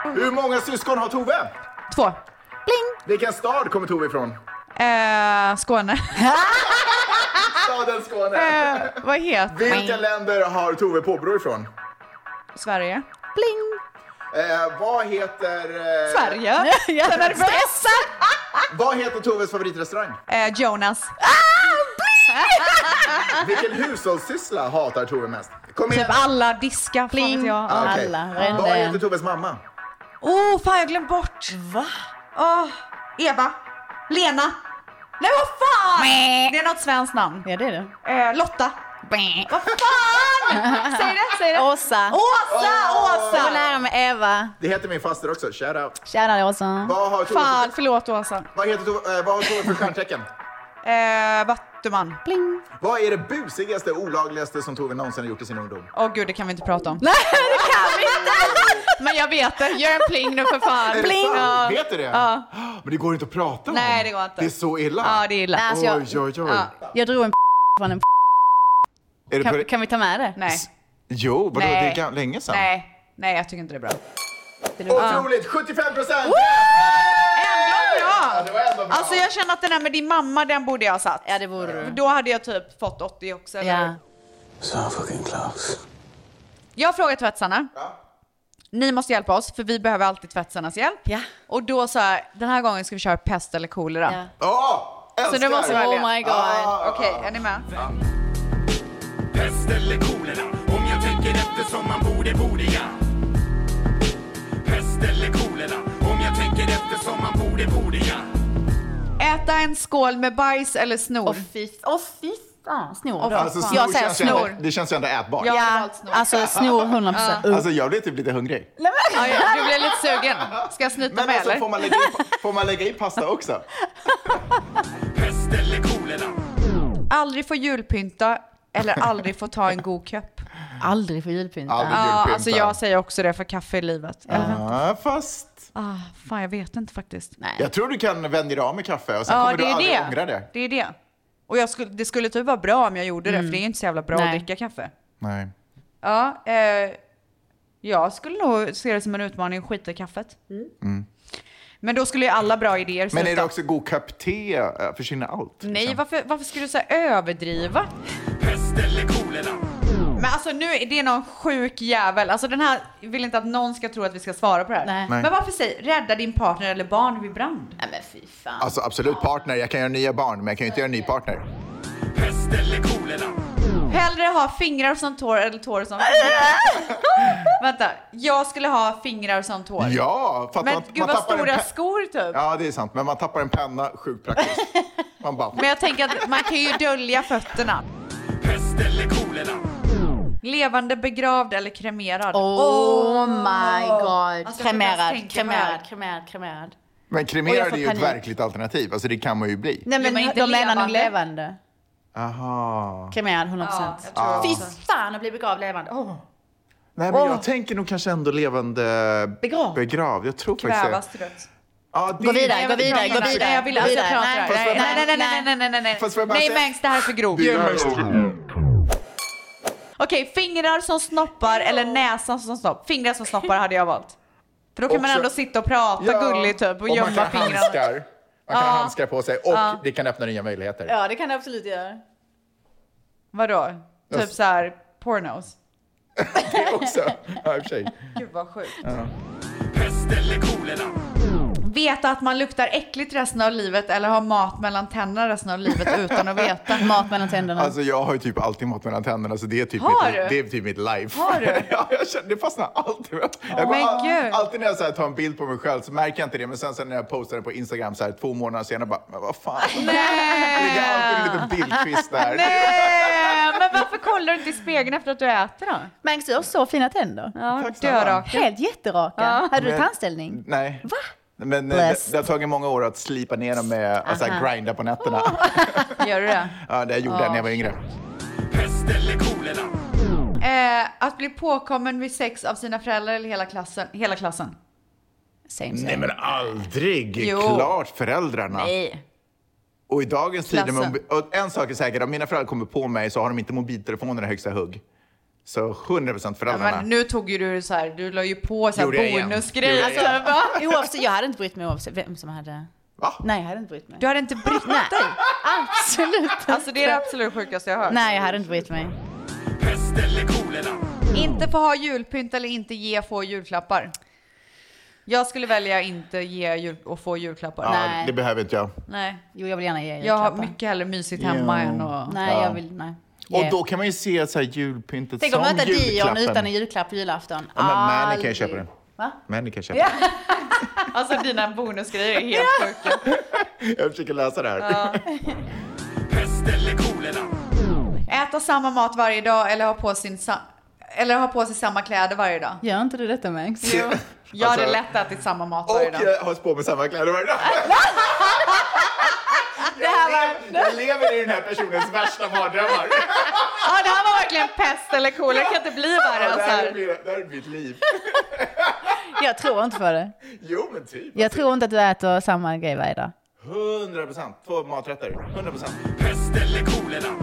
S2: Hur många syskon har Tove?
S1: Två.
S2: Bling. Vilken stad kommer Tove ifrån?
S1: Eh, Skåne.
S2: Staden Skåne.
S1: Ah. Eh, vad heter
S2: Vilka länder har Tove påbrå ifrån?
S1: Sverige. Bling.
S2: Eh, vad heter... Eh,
S1: Sverige. Jag är nervös.
S2: Vad heter Toves favoritrestaurang?
S1: Eh, Jonas.
S2: Vilken hushållssyssla hatar Tove mest? Kom igen.
S1: Typ alla, diska, fan vet jag.
S2: Ah, okej. Vad heter Toves mamma?
S1: Oh, fan jag glömde bort. Va? Åh, Eva. Lena. Nej vad fan! Det är något svenskt namn.
S3: Ja det är det.
S1: Eh, Lotta. Vad fan! Säg det, säg det.
S3: Åsa.
S1: Åsa,
S3: Jag var
S1: Åsa!
S3: nära med Eva.
S2: Det heter min faster också, shout out.
S3: Tjena Åsa.
S2: Vad har Tove,
S1: Fan, förlåt Åsa.
S2: vad heter Tove, eh, vad har Tove för stjärntecken?
S1: Eh, Vattuman. Bling.
S2: Vad är det busigaste och olagligaste som Tove någonsin har gjort i sin ungdom?
S1: Åh gud, det kan vi inte prata om. Nej, det kan vi inte! Men jag vet det. Gör en pling nu för fan.
S2: Är det sant?
S1: Ja.
S2: Vet du det?
S1: Ja.
S2: Men det går inte att prata om.
S1: Nej, det går inte.
S2: Det är så illa.
S1: Ja, det är illa.
S3: Nej, alltså jag-
S2: Oj, oj, oj.
S1: Ja.
S3: Jag drog en från en
S2: Är det på...
S3: kan, kan vi ta med det?
S1: Nej.
S2: Jo, vadå? Det
S1: Nej.
S2: är gam- länge sedan.
S1: Nej. Nej, jag tycker inte det är bra.
S3: oh,
S2: Otroligt! 75 procent!
S1: Ändå
S2: Ja,
S1: bra!
S2: det var ändå bra.
S1: Alltså jag känner att den där med din mamma, den borde jag ha satt.
S3: Ja det borde du.
S1: Då hade jag typ fått 80 också. Eller?
S3: Ja.
S10: So fucking close.
S1: Jag frågade tvättarna. Ni måste hjälpa oss, för vi behöver alltid tvättarnas hjälp.
S3: Ja.
S1: Och då sa jag, den här gången ska vi köra pest eller kolera.
S3: Ja.
S2: Ja,
S1: Så
S2: älskar!
S1: nu måste vi välja.
S3: Oh my god.
S2: Ah.
S1: Okej, är ni med?
S12: Pest eller kolera? Om jag tänker efter som man borde, borde jag. Pest eller kolera? Om jag tänker efter som man borde, borde jag.
S1: Äta en skål med bajs eller snor?
S3: Åh fy, åh fy fan. Snor
S1: Åh,
S3: då.
S1: fan.
S2: Alltså,
S1: Jag
S2: snor
S1: säger
S2: känns ju ändå-
S1: snor.
S2: Det känns ju ändå ätbart.
S1: Jag hade
S3: Ja,
S1: valt snor.
S3: alltså snor 100%.
S2: Alltså jag blev typ lite hungrig.
S1: Ja, ja, du blev lite sugen. Ska jag snyta
S2: Men
S1: mig
S2: alltså
S1: eller?
S2: får man, lägga i, får man lägga i pasta också?
S12: Pest eller kolera?
S1: Aldrig få julpynta eller aldrig få ta en god kopp.
S3: Aldrig få julpynta.
S2: Aldrig.
S1: Ja,
S2: Julpynta.
S1: alltså jag säger också det för kaffe i livet. Eller vänta.
S2: Ja, fast...
S1: Ah, fan, jag vet inte faktiskt.
S2: Jag tror du kan vänja dig av med kaffe och sen
S1: Ja,
S2: kommer
S1: det
S2: du
S1: är
S2: aldrig
S1: det.
S2: ångra det.
S1: Det är det. Och jag skulle, det skulle typ vara bra om jag gjorde det, för det är ju inte så jävla bra att
S3: Mm. Nej.
S1: dricka kaffe.
S2: Nej.
S1: Ja, eh, jag skulle nog se det som en utmaning att skita i kaffet.
S3: Mm.
S1: Men då skulle ju alla bra idéer
S2: Mm. Men är det
S1: sluta.
S2: också god kopp te eh, försvinner allt?
S1: Nej,
S2: liksom?
S1: varför, varför skulle du så här överdriva?
S12: Pest eller kolera?
S1: Men alltså nu är det någon sjuk jävel. Alltså den här jag vill inte att någon ska tro att vi ska svara på det här.
S3: Nej.
S2: Nej.
S1: Men varför säg rädda din partner eller barn vid brand?
S3: Nej men fy fan.
S2: Alltså absolut partner, jag kan göra nya barn men jag kan ju inte göra en ny partner.
S12: Pest eller kolera?
S1: Hellre ha fingrar som tår eller tår som Vänta, jag skulle ha fingrar som tår.
S2: Ja, för att
S1: Men
S2: man,
S1: gud
S2: man
S1: vad
S2: tappar en
S1: stora
S2: pe-
S1: skor typ.
S2: Ja det är sant, men man tappar en penna, sjukt praktiskt. Man bara...
S1: Men jag tänker att man kan ju dölja fötterna.
S12: Pest eller kolera?
S1: Levande begravd eller kremerad?
S3: Oh my god.
S1: Alltså, jag kan inte ens tänka på
S3: kremerad,
S1: det här.
S3: kremerad, kremerad, kremerad.
S2: Men
S3: Och jag
S2: kremerad är
S3: får
S2: ju ett
S3: panik.
S2: verkligt alternativ, alltså det kan man ju bli.
S3: Nej
S1: men
S3: men,
S1: inte
S3: de menar nog
S1: levande.
S3: levande.
S2: Aha.
S3: Kremerad 100%.
S1: Ja, jag tror
S3: Fy
S1: också.
S3: fan att bli begravd levande. Oh. Åh.
S2: Nej men
S3: Åh.
S2: jag tänker nog kanske ändå levande...
S3: Begravd.
S2: Begravd, jag tror faktiskt
S1: Kvävas
S2: det.
S1: till döds.
S2: Ja, det
S3: Gå vidare,
S2: är-
S3: gå vidare, gå
S1: Nej, jag
S3: vidare.
S1: vill
S3: gå
S1: alltså jag pratar.
S3: vidare.
S2: Fast får
S1: Nej,
S2: jag bara
S1: nej, nej, nej, nej, nej, nej, nej.
S2: Fast får jag bara
S1: Nej,
S2: säga-
S1: Mangs, det här är för grovt.
S2: Det är
S1: Okej,
S2: högst-
S1: fingrar som snoppar eller näsan som snopp. Fingrar som snoppar hade jag valt. För då kan man
S2: Också-
S1: ändå sitta och prata gulligt typ och
S2: man
S1: gömma
S2: kan ha
S1: fingrarna.
S2: handskar. Man kan ha handskar på sig och det kan öppna nya möjligheter.
S3: Ja det kan det absolut göra.
S1: Vadå? Typ så här pornos.
S2: Det också. Ja, i och för sig.
S1: Gud vad sjukt.
S12: Pest eller kolera?
S1: Veta att man luktar äckligt resten av livet eller ha mat mellan tänderna resten av livet utan att veta.
S3: Mat mellan tänderna.
S2: Alltså jag har ju typ alltid mat mellan tänderna så det är typ,
S1: Har
S2: mitt,
S1: du?
S2: det är typ mitt life.
S1: Har du?
S2: ja, jag känner, det fastnar alltid. Jag
S1: men
S2: all,
S1: gud.
S2: alltid när jag så här tar en bild på mig själv så märker jag inte det men sen, sen när jag postar den på Instagram så här två månader senare bara, men vad fan. Det ligger alltid en liten bildkvist där.
S1: Nej, men varför kollar du inte i spegeln efter att du äter då?
S3: Mangs, du har så fina tänder.
S1: Ja,
S2: snälla.
S1: dörraka.
S3: Helt jätteraka. Hade du
S2: Men-
S3: tandställning?
S2: Nej. Va? Men eh, det,
S3: Blessed.
S2: det har tagit många år att slipa ner dem med, alltså
S3: Aha.
S2: här, grinda på nätterna.
S1: Gör du det?
S2: ja, det gjorde jag när jag var yngre.
S12: Pest eller kolera?
S1: Eh, att bli påkommen vid sex av sina föräldrar eller hela klassen? Hela klassen.
S3: Same
S2: Nej
S3: same.
S2: men aldrig!
S1: Jo.
S2: Klart föräldrarna.
S3: Nej.
S2: Och i dagens tider, med
S1: Klassen.
S2: mobi- och en sak är säker, om mina föräldrar kommer på mig så har de inte mobiltelefonerna i högsta hugg. Så 100%
S1: Ja,
S2: föräldrarna.
S1: men nu tog ju du så här, du la ju på så här
S2: Gjorde jag igen.
S1: bonusgrejer.
S2: Gjorde jag
S1: Alltså, va?
S3: Alltså, oavsett, jag hade inte brytt mig oavsett vem som hade... Nej, jag hade inte brytt mig.
S1: Du hade inte brytt dig?
S3: Absolut
S1: Alltså det är det absolut sjukaste jag har hört.
S3: Nej, jag hade inte brytt mig.
S12: Pest eller kolera?
S1: Inte få ha julpynt eller inte ge få julklappar. Jag skulle välja inte ge jul och få julklappar.
S2: ja, Det behöver inte jag.
S1: Nej.
S3: Jo, jag vill gärna ge
S1: Jag har mycket hellre mysigt hemma än att...
S3: Nej, jag vill... Nej.
S2: Och då kan man ju se så här julpyntet
S3: Tänk
S2: som
S3: om möta Dion
S2: julklappen.
S3: utan en julklapp på julafton. Ah.
S2: Ja, men Mani kan ju
S3: Aldrig.
S2: köpa den.
S3: Va?
S2: Mani kan köpa
S3: Ja.
S1: Alltså dina bonusgrejer är helt sjuka.
S2: den. Jag försöker läsa det här.
S1: Ja.
S12: Pest eller kolera?
S1: Äta samma mat varje dag eller ha på, sin sa- eller ha på sig samma kläder varje dag.
S3: Gör inte du detta Max?
S1: Jo. Jag hade
S2: Alltså-
S1: lätt ätit samma mat
S2: Och
S1: varje dag.
S2: jag har på mig samma kläder varje dag.
S1: Det här var...
S2: Jag lever i den här personens värsta mardrömmar.
S1: Ja, det här var verkligen pest eller kolera. Det kan inte bli värre
S2: Ja,
S1: än
S2: det,
S1: så
S2: här är
S1: här.
S2: mitt, det här är mitt liv.
S3: Jag tror inte på det.
S2: Jo, men typ.
S3: Jag tror inte att du äter samma grej varje dag.
S2: 100 procent. Två maträtter. 100 procent.
S12: Pest eller kolera?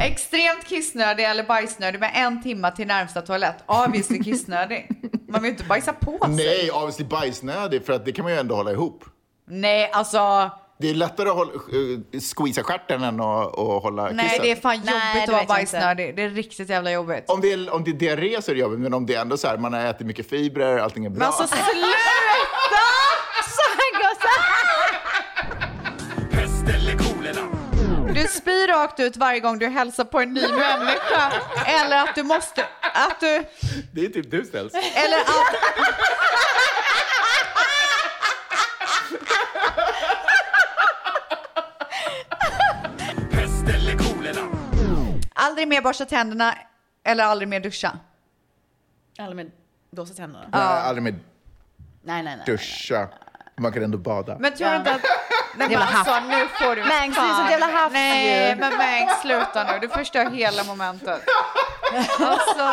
S1: Extremt kissnödig eller bajsnödig med en timme till närmsta toalett. Obviously kissnödig. Man vill ju inte bajsa på sig.
S2: Nej, obviously bajsnödig, för att det kan man ju ändå hålla ihop.
S1: Nej, alltså.
S2: Det är lättare att hålla, eh, squeeza stjärten än att, att hålla
S1: Nej,
S2: kissen.
S1: det är fan
S3: Nej, det
S1: jobbigt att
S3: vet
S1: vara
S3: jag
S1: bajsnödig. Det är riktigt jävla jobbigt.
S2: Om det, är, om det är diarré så är det jobbigt, men om det är ändå så här, man har ätit mycket fibrer, allting är bra.
S1: Men alltså sluta! Alltså,
S3: Så han går så här.
S12: Pest eller kolera?
S1: Du spyr rakt ut varje gång du hälsar på en ny människa. Eller att du måste... Att du...
S2: Det är typ du ställs.
S1: Eller att...
S12: Pest eller kolera?
S1: Aldrig mer borsta tänderna eller aldrig mer duscha.
S3: Aldrig mer borsta tänderna.
S2: Nej, aldrig med
S3: Nej, nej, nej.
S2: duscha. Man kan ändå bada.
S1: Men tror du inte att... Nej, men
S3: Jävla
S1: alltså,
S3: haff.
S1: nu får du
S3: Mangs, du är
S1: fan-
S3: sånt jävla haff
S1: Nej,
S3: ju.
S1: men Mangs, sluta nu. Du förstör hela momentet. Alltså...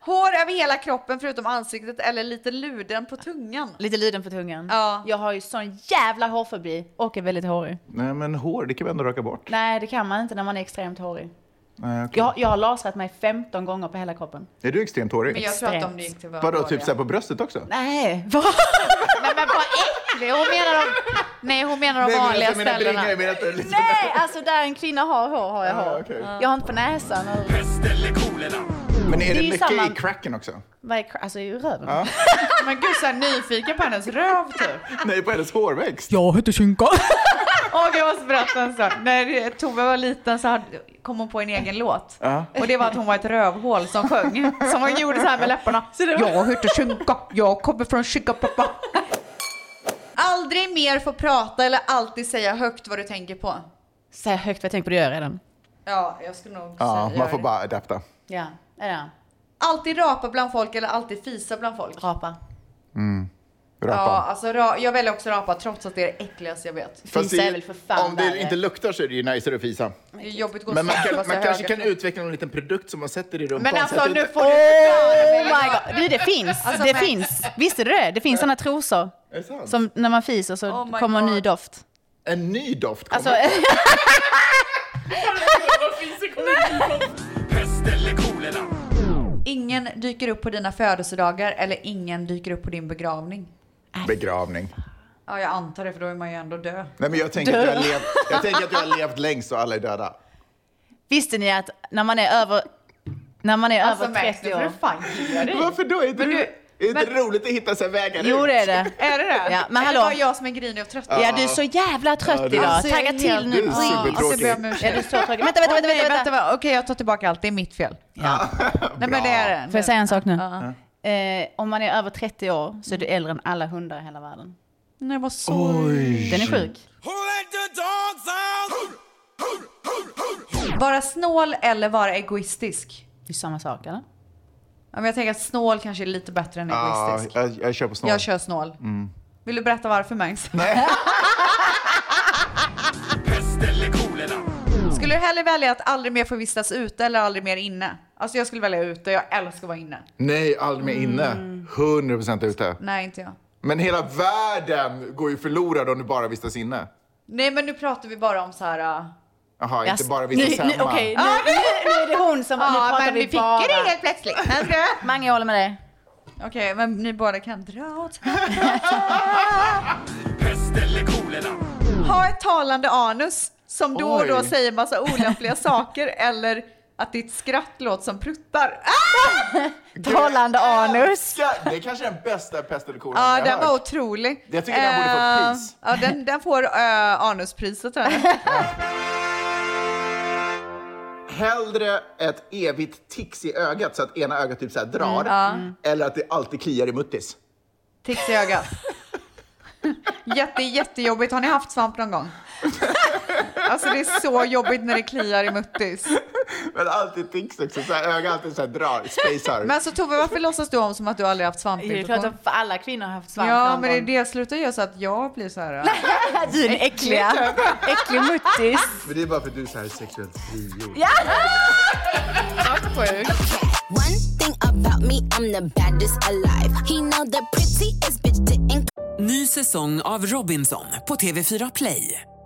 S1: Hår över hela kroppen förutom ansiktet eller lite luden på tungan.
S3: Lite luden på tungan.
S1: Ja.
S3: Jag har ju sån jävla hårfobi och är väldigt hårig.
S2: Nej, men hår, det kan vi ändå raka bort.
S3: Nej, det kan man inte när man är extremt hårig.
S2: Nej, okej.
S3: Jag, jag har lasrat mig 15 gånger på hela kroppen.
S2: Är du extremt hårig?
S1: Men jag tror att de gick till
S2: Vadå, typ så här på bröstet också?
S3: Nej, vad?
S1: Nej men vad äcklig! Hon menar de, nej, hon menar de
S2: Nej, men
S1: vanliga
S2: alltså, jag menar
S1: ställena.
S2: bringa, jag menar att det är lite-
S3: Nej, alltså där en kvinna har hår har jag
S2: Ah,
S3: hår.
S2: okej.
S3: Jag har inte på näsan. Och...
S12: Pest eller kolera?
S2: Men är
S3: Det
S2: det
S3: är ju
S2: mycket
S3: samma-
S2: i cracken också?
S3: Vad är kra- Alltså i röven.
S2: Ja.
S1: Men gud såhär nyfiken på hennes röv typ.
S2: Nej, på hennes hårväxt.
S1: Jag heter Kinka. Och jag måste berätta en sak. När Tove var liten så hade, kom hon på en egen låt.
S2: Ja.
S1: Och det var att hon var ett rövhål som sjöng. Som hon gjorde så här med läpparna. Jag heter Kinka, jag kommer från Kinka pappa. Aldrig mer få prata eller alltid säga högt vad du tänker på.
S3: Så här högt vad jag tänker på det gör jag redan.
S1: Ja, jag skulle nog
S2: Ja,
S1: säga
S2: man får
S1: det.
S2: bara adapta.
S3: Ja, är det.
S1: Alltid rapa bland folk eller alltid fisa bland folk.
S3: Rapa.
S1: Ja,
S2: Rapa.
S1: alltså ra- jag väljer också rapa trots att det är det äckligaste jag vet.
S2: Fast
S3: Fisa
S2: det-
S3: är väl för fan
S2: Om det
S3: värre.
S2: inte luktar så är det ju najsare att fisa.
S1: Det är jobbigt att gå och
S2: Men man,
S1: sova
S2: kan,
S1: fast jag
S2: man
S1: är
S2: kanske
S1: höger.
S2: kan utveckla någon liten produkt som man sätter i rumpan.
S1: Men
S2: så
S1: alltså
S2: att
S1: nu
S2: det-
S1: får du förklara
S3: Oh
S1: mig.
S3: my god, du det finns.
S1: Alltså,
S3: det
S1: men-
S3: finns. Visste du det? Det finns såna trosor.
S2: Är det sant?
S3: Som när man fiser så
S1: Oh my
S3: kommer en ny
S1: God.
S3: doft.
S2: En ny doft kommer.
S3: Alltså,
S12: Pest eller kolera?
S1: Ingen dyker upp på dina födelsedagar eller ingen dyker upp på din begravning.
S3: eh,
S2: Begravning.
S1: Ja, jag antar det för då är man ju ändå död.
S2: Nej, men jag tänker, att jag, har levt, jag tänker att jag har levt längst och alla är döda.
S3: visste ni att när man är över, när man är
S1: Alltså
S3: över
S1: Max, nu
S3: 30
S1: får du
S3: år.
S1: fan ge dig.
S2: Varför då? Är inte
S1: Men
S2: det,
S1: du-
S2: är inte det roligt att hitta sig vägar
S3: Jo
S2: ut?
S3: det är det.
S1: Är det det?
S3: Ja, men
S1: Är
S3: hallå.
S1: det bara jag som är grinig och trött?
S3: Ja du är så jävla trött
S2: Ja, du-
S3: idag.
S1: Alltså, jag är
S3: Tagga till
S1: helt-
S3: nu.
S2: Du är
S3: Ja,
S2: supertråkig.
S1: Alltså, jag ber om ursäkt.
S3: du är så tråkig. Vänta, vänta, vänta.
S1: Nej,
S3: vänta,
S1: vänta. va- Okej, jag tar tillbaka allt. Det är mitt fel.
S3: Ja.
S1: Nej, men det är det.
S3: Får jag säga en sak nu? Eh, om man är över 30 år så är du äldre än alla hundar i hela världen.
S1: Nej, jag var så...
S3: Den är sjuk.
S1: Vara snål eller vara egoistisk?
S3: Det är samma sak eller?
S1: Ja, men jag tänker att snål kanske är lite bättre än
S2: Ja,
S1: egoistisk.
S2: jag, jag kör på snart.
S1: Jag kör snål. Vill du berätta varför Mangs?
S12: Pest eller kolera?
S1: Skulle du hellre välja att aldrig mer få vistas ute eller aldrig mer inne? Alltså jag skulle välja ute, jag älskar att vara inne.
S2: Nej, aldrig mer inne.
S3: Mm.
S2: 100% ute.
S1: Nej, inte jag.
S2: Men hela världen går ju förlorad om du bara vistas inne.
S1: Nej, men nu pratar vi bara om så här... äh,
S2: Jaha, inte
S3: Jaså.
S2: bara vi
S3: Alltså, Nu-
S2: tillsammans.
S3: nu- Okej, nu, nu, nu är det hon som...
S1: Ja,
S3: nu pratar
S1: Ah, men vi
S3: vi
S1: fick
S3: bara.
S1: det helt plötsligt. Alltså, Nej, jag skojar.
S3: Mange, jag håller med dig.
S1: Okej, men ni båda kan dra åt
S12: Pest eller kolera?
S1: Ha ett talande anus som då och då
S12: Oj.
S1: säger massa olämpliga saker eller att ditt skratt låter som pruttar.
S2: Ah!
S3: Talande anus.
S2: Det är kanske är den bästa pest eller kolera
S1: Ja,
S2: jag
S1: den
S2: hört.
S1: var otrolig.
S2: Jag tycker den borde få ett
S1: Eh,
S2: pris.
S1: Ja, den, den får eh, anuspriset tror jag.
S2: Hellre ett evigt tics i ögat så att ena ögat typ så här drar,
S1: Mm, ja. Mm.
S2: eller att det alltid kliar i muttis.
S1: Tics i ögat. Jätte, jättejobbigt. Har ni haft svamp någon gång? Alltså det är så jobbigt när det kliar i muttis.
S2: Men alltid tics också, så här, ögat alltid så här drar, spacear.
S1: Men alltså Tove, varför låtsas du om som att du aldrig haft
S3: Det är klart
S1: svampinfektion?
S3: att alla kvinnor har haft svamp
S1: Ja,
S3: någon
S1: men det är
S3: gång.
S1: det. Sluta göra så att jag blir så här. äh.
S3: Du är en äckliga. Äcklig muttis.
S2: Men det är bara för att du är så här sexuellt frigjord.
S3: Ja!
S13: about me, I'm the baddest alive. He know the prettiest bitch didn't
S9: Ny säsong av Robinson på TV4 Play.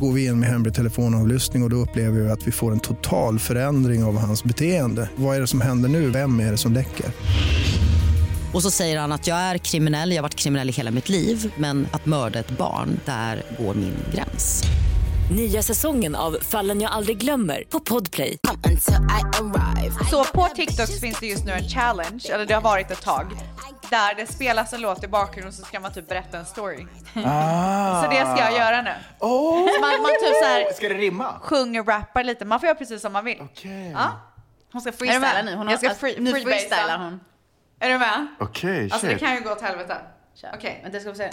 S14: Går vi in med hemlig telefonavlyssning och, och då upplever vi att vi får en total förändring av hans beteende. Vad är det som händer nu? Vem är det som läcker?
S11: Och så säger han att jag är kriminell, jag har varit kriminell i hela mitt liv men att mörda ett barn, där går min gräns. Nya säsongen av Fallen jag aldrig glömmer på Podplay.
S1: Så på TikTok så finns det just nu en challenge, eller det har varit ett tag, där det spelas en låt i bakgrunden och så ska man typ berätta en story.
S2: Ah. Oh.
S1: Så det ska jag göra nu. Så Man, man typ så här
S2: Ska det rimma?
S1: sjunger, rappar lite. Man får göra precis som man vill.
S2: Okej.
S1: Ja.
S3: Hon ska
S1: Är
S3: freestyla
S1: du med?
S3: nu. Hon
S1: jag ska
S3: har,
S1: free,
S3: nu
S1: freebasea.
S3: freestylar hon.
S1: Är du med?
S2: Okej,
S1: Alltså det
S2: shit.
S1: kan ju gå åt helvete. Okej,
S3: vänta ska vi se.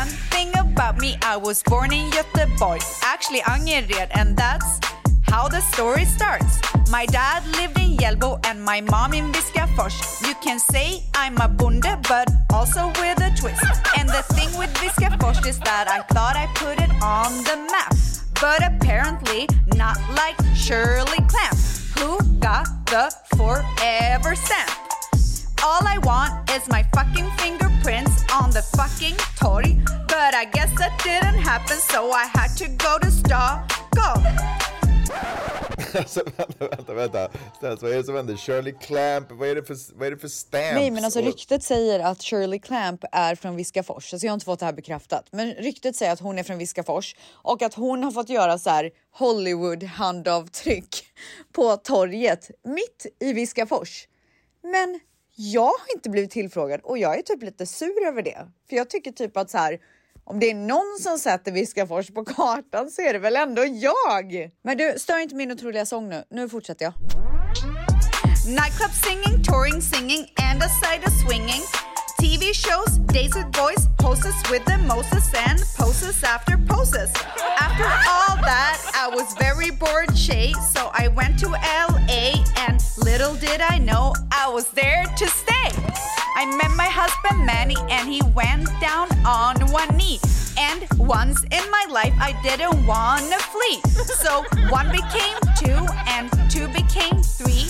S1: One thing about me, I was born in Göteborg, actually Angered, and that's how the story starts. My dad lived in Hjällbo and my mom in Viskafors. You can say I'm a bonde, but also with a twist. And the thing with Viskafors is that I thought I put it on the map, but apparently not like Shirley Clamp, who got the forever stamp. All I want is my fucking fingerprints on the fucking Tory. But I guess that didn't happen, so I had to go to Stockholm.
S2: Alltså, vänta, vänta, vänta. Stas, vad är det som händer? Shirley Clamp, vad är det för, vad är det för stamps?
S15: Nej men alltså
S2: Och-
S15: ryktet säger att Shirley Clamp är från Viskafors. Alltså jag har inte fått det här bekräftat. Men ryktet säger att hon är från Viskafors och att hon har fått göra så här Hollywood handavtryck på torget mitt i Viskafors. Men jag har inte blivit tillfrågad och jag är typ lite sur över det. För jag tycker typ att så här om det är någon som sätter Viskafors på kartan så är det väl ändå jag. Men du, stör inte min otroliga sång nu. Nu fortsätter jag.
S1: Nightclub singing, touring singing, and a side of swinging. TV shows, days with boys, poses with the Moses, and poses after poses. After all that, I was very bored, Shay, so I went to LA, and little did I know I was there to stay. I met my husband Manny, and he went down on one knee. And once in my life, I didn't wanna flee. So one became two, and two became three.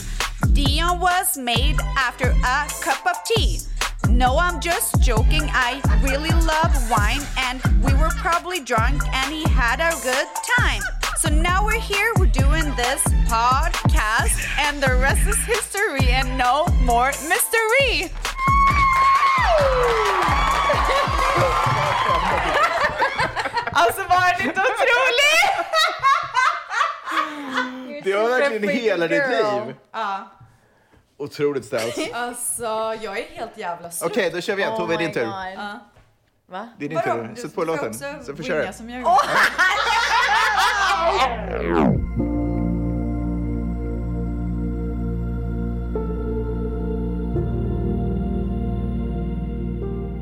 S1: Dion was made after a cup of tea. No, I'm just joking. I really love wine, and we were probably drunk, and he had a good time. So now we're here, we're doing this podcast, and the rest is history, and no more mystery. alltså var det inte otroligt?
S2: Det var verkligen hela ditt liv.
S1: Ja.
S2: Otroligt Stas.
S1: Alltså, jag är helt jävla
S2: slut. Okej, då kör vi igen. Tove,
S1: Oh
S2: det är din tur.
S1: Ja.
S3: Va?
S2: Det är din tur. Sätt på låten. Så får köra.
S1: jag